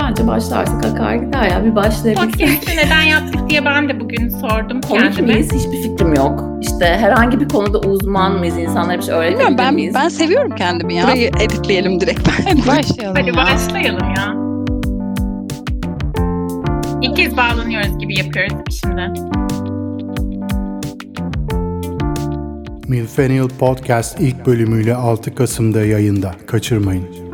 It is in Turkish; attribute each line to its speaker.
Speaker 1: bence başlarsak akar gider ya. Bir başlayabiliriz.
Speaker 2: Podcast'i neden yaptık diye ben de bugün sordum
Speaker 1: Komik
Speaker 2: kendime.
Speaker 1: miyiz? Hiçbir fikrim yok. İşte herhangi bir konuda uzman mıyız? İnsanlara bir şey
Speaker 3: Bilmiyorum,
Speaker 1: öğretebilir
Speaker 3: ben,
Speaker 1: miyiz?
Speaker 3: ben seviyorum kendimi ya. Burayı editleyelim direkt ben.
Speaker 4: Başlayalım
Speaker 2: Hadi
Speaker 4: ya.
Speaker 2: başlayalım ya. İlk kez bağlanıyoruz gibi yapıyoruz değil mi şimdi?
Speaker 5: Millennial Podcast ilk bölümüyle 6 Kasım'da yayında. Kaçırmayın.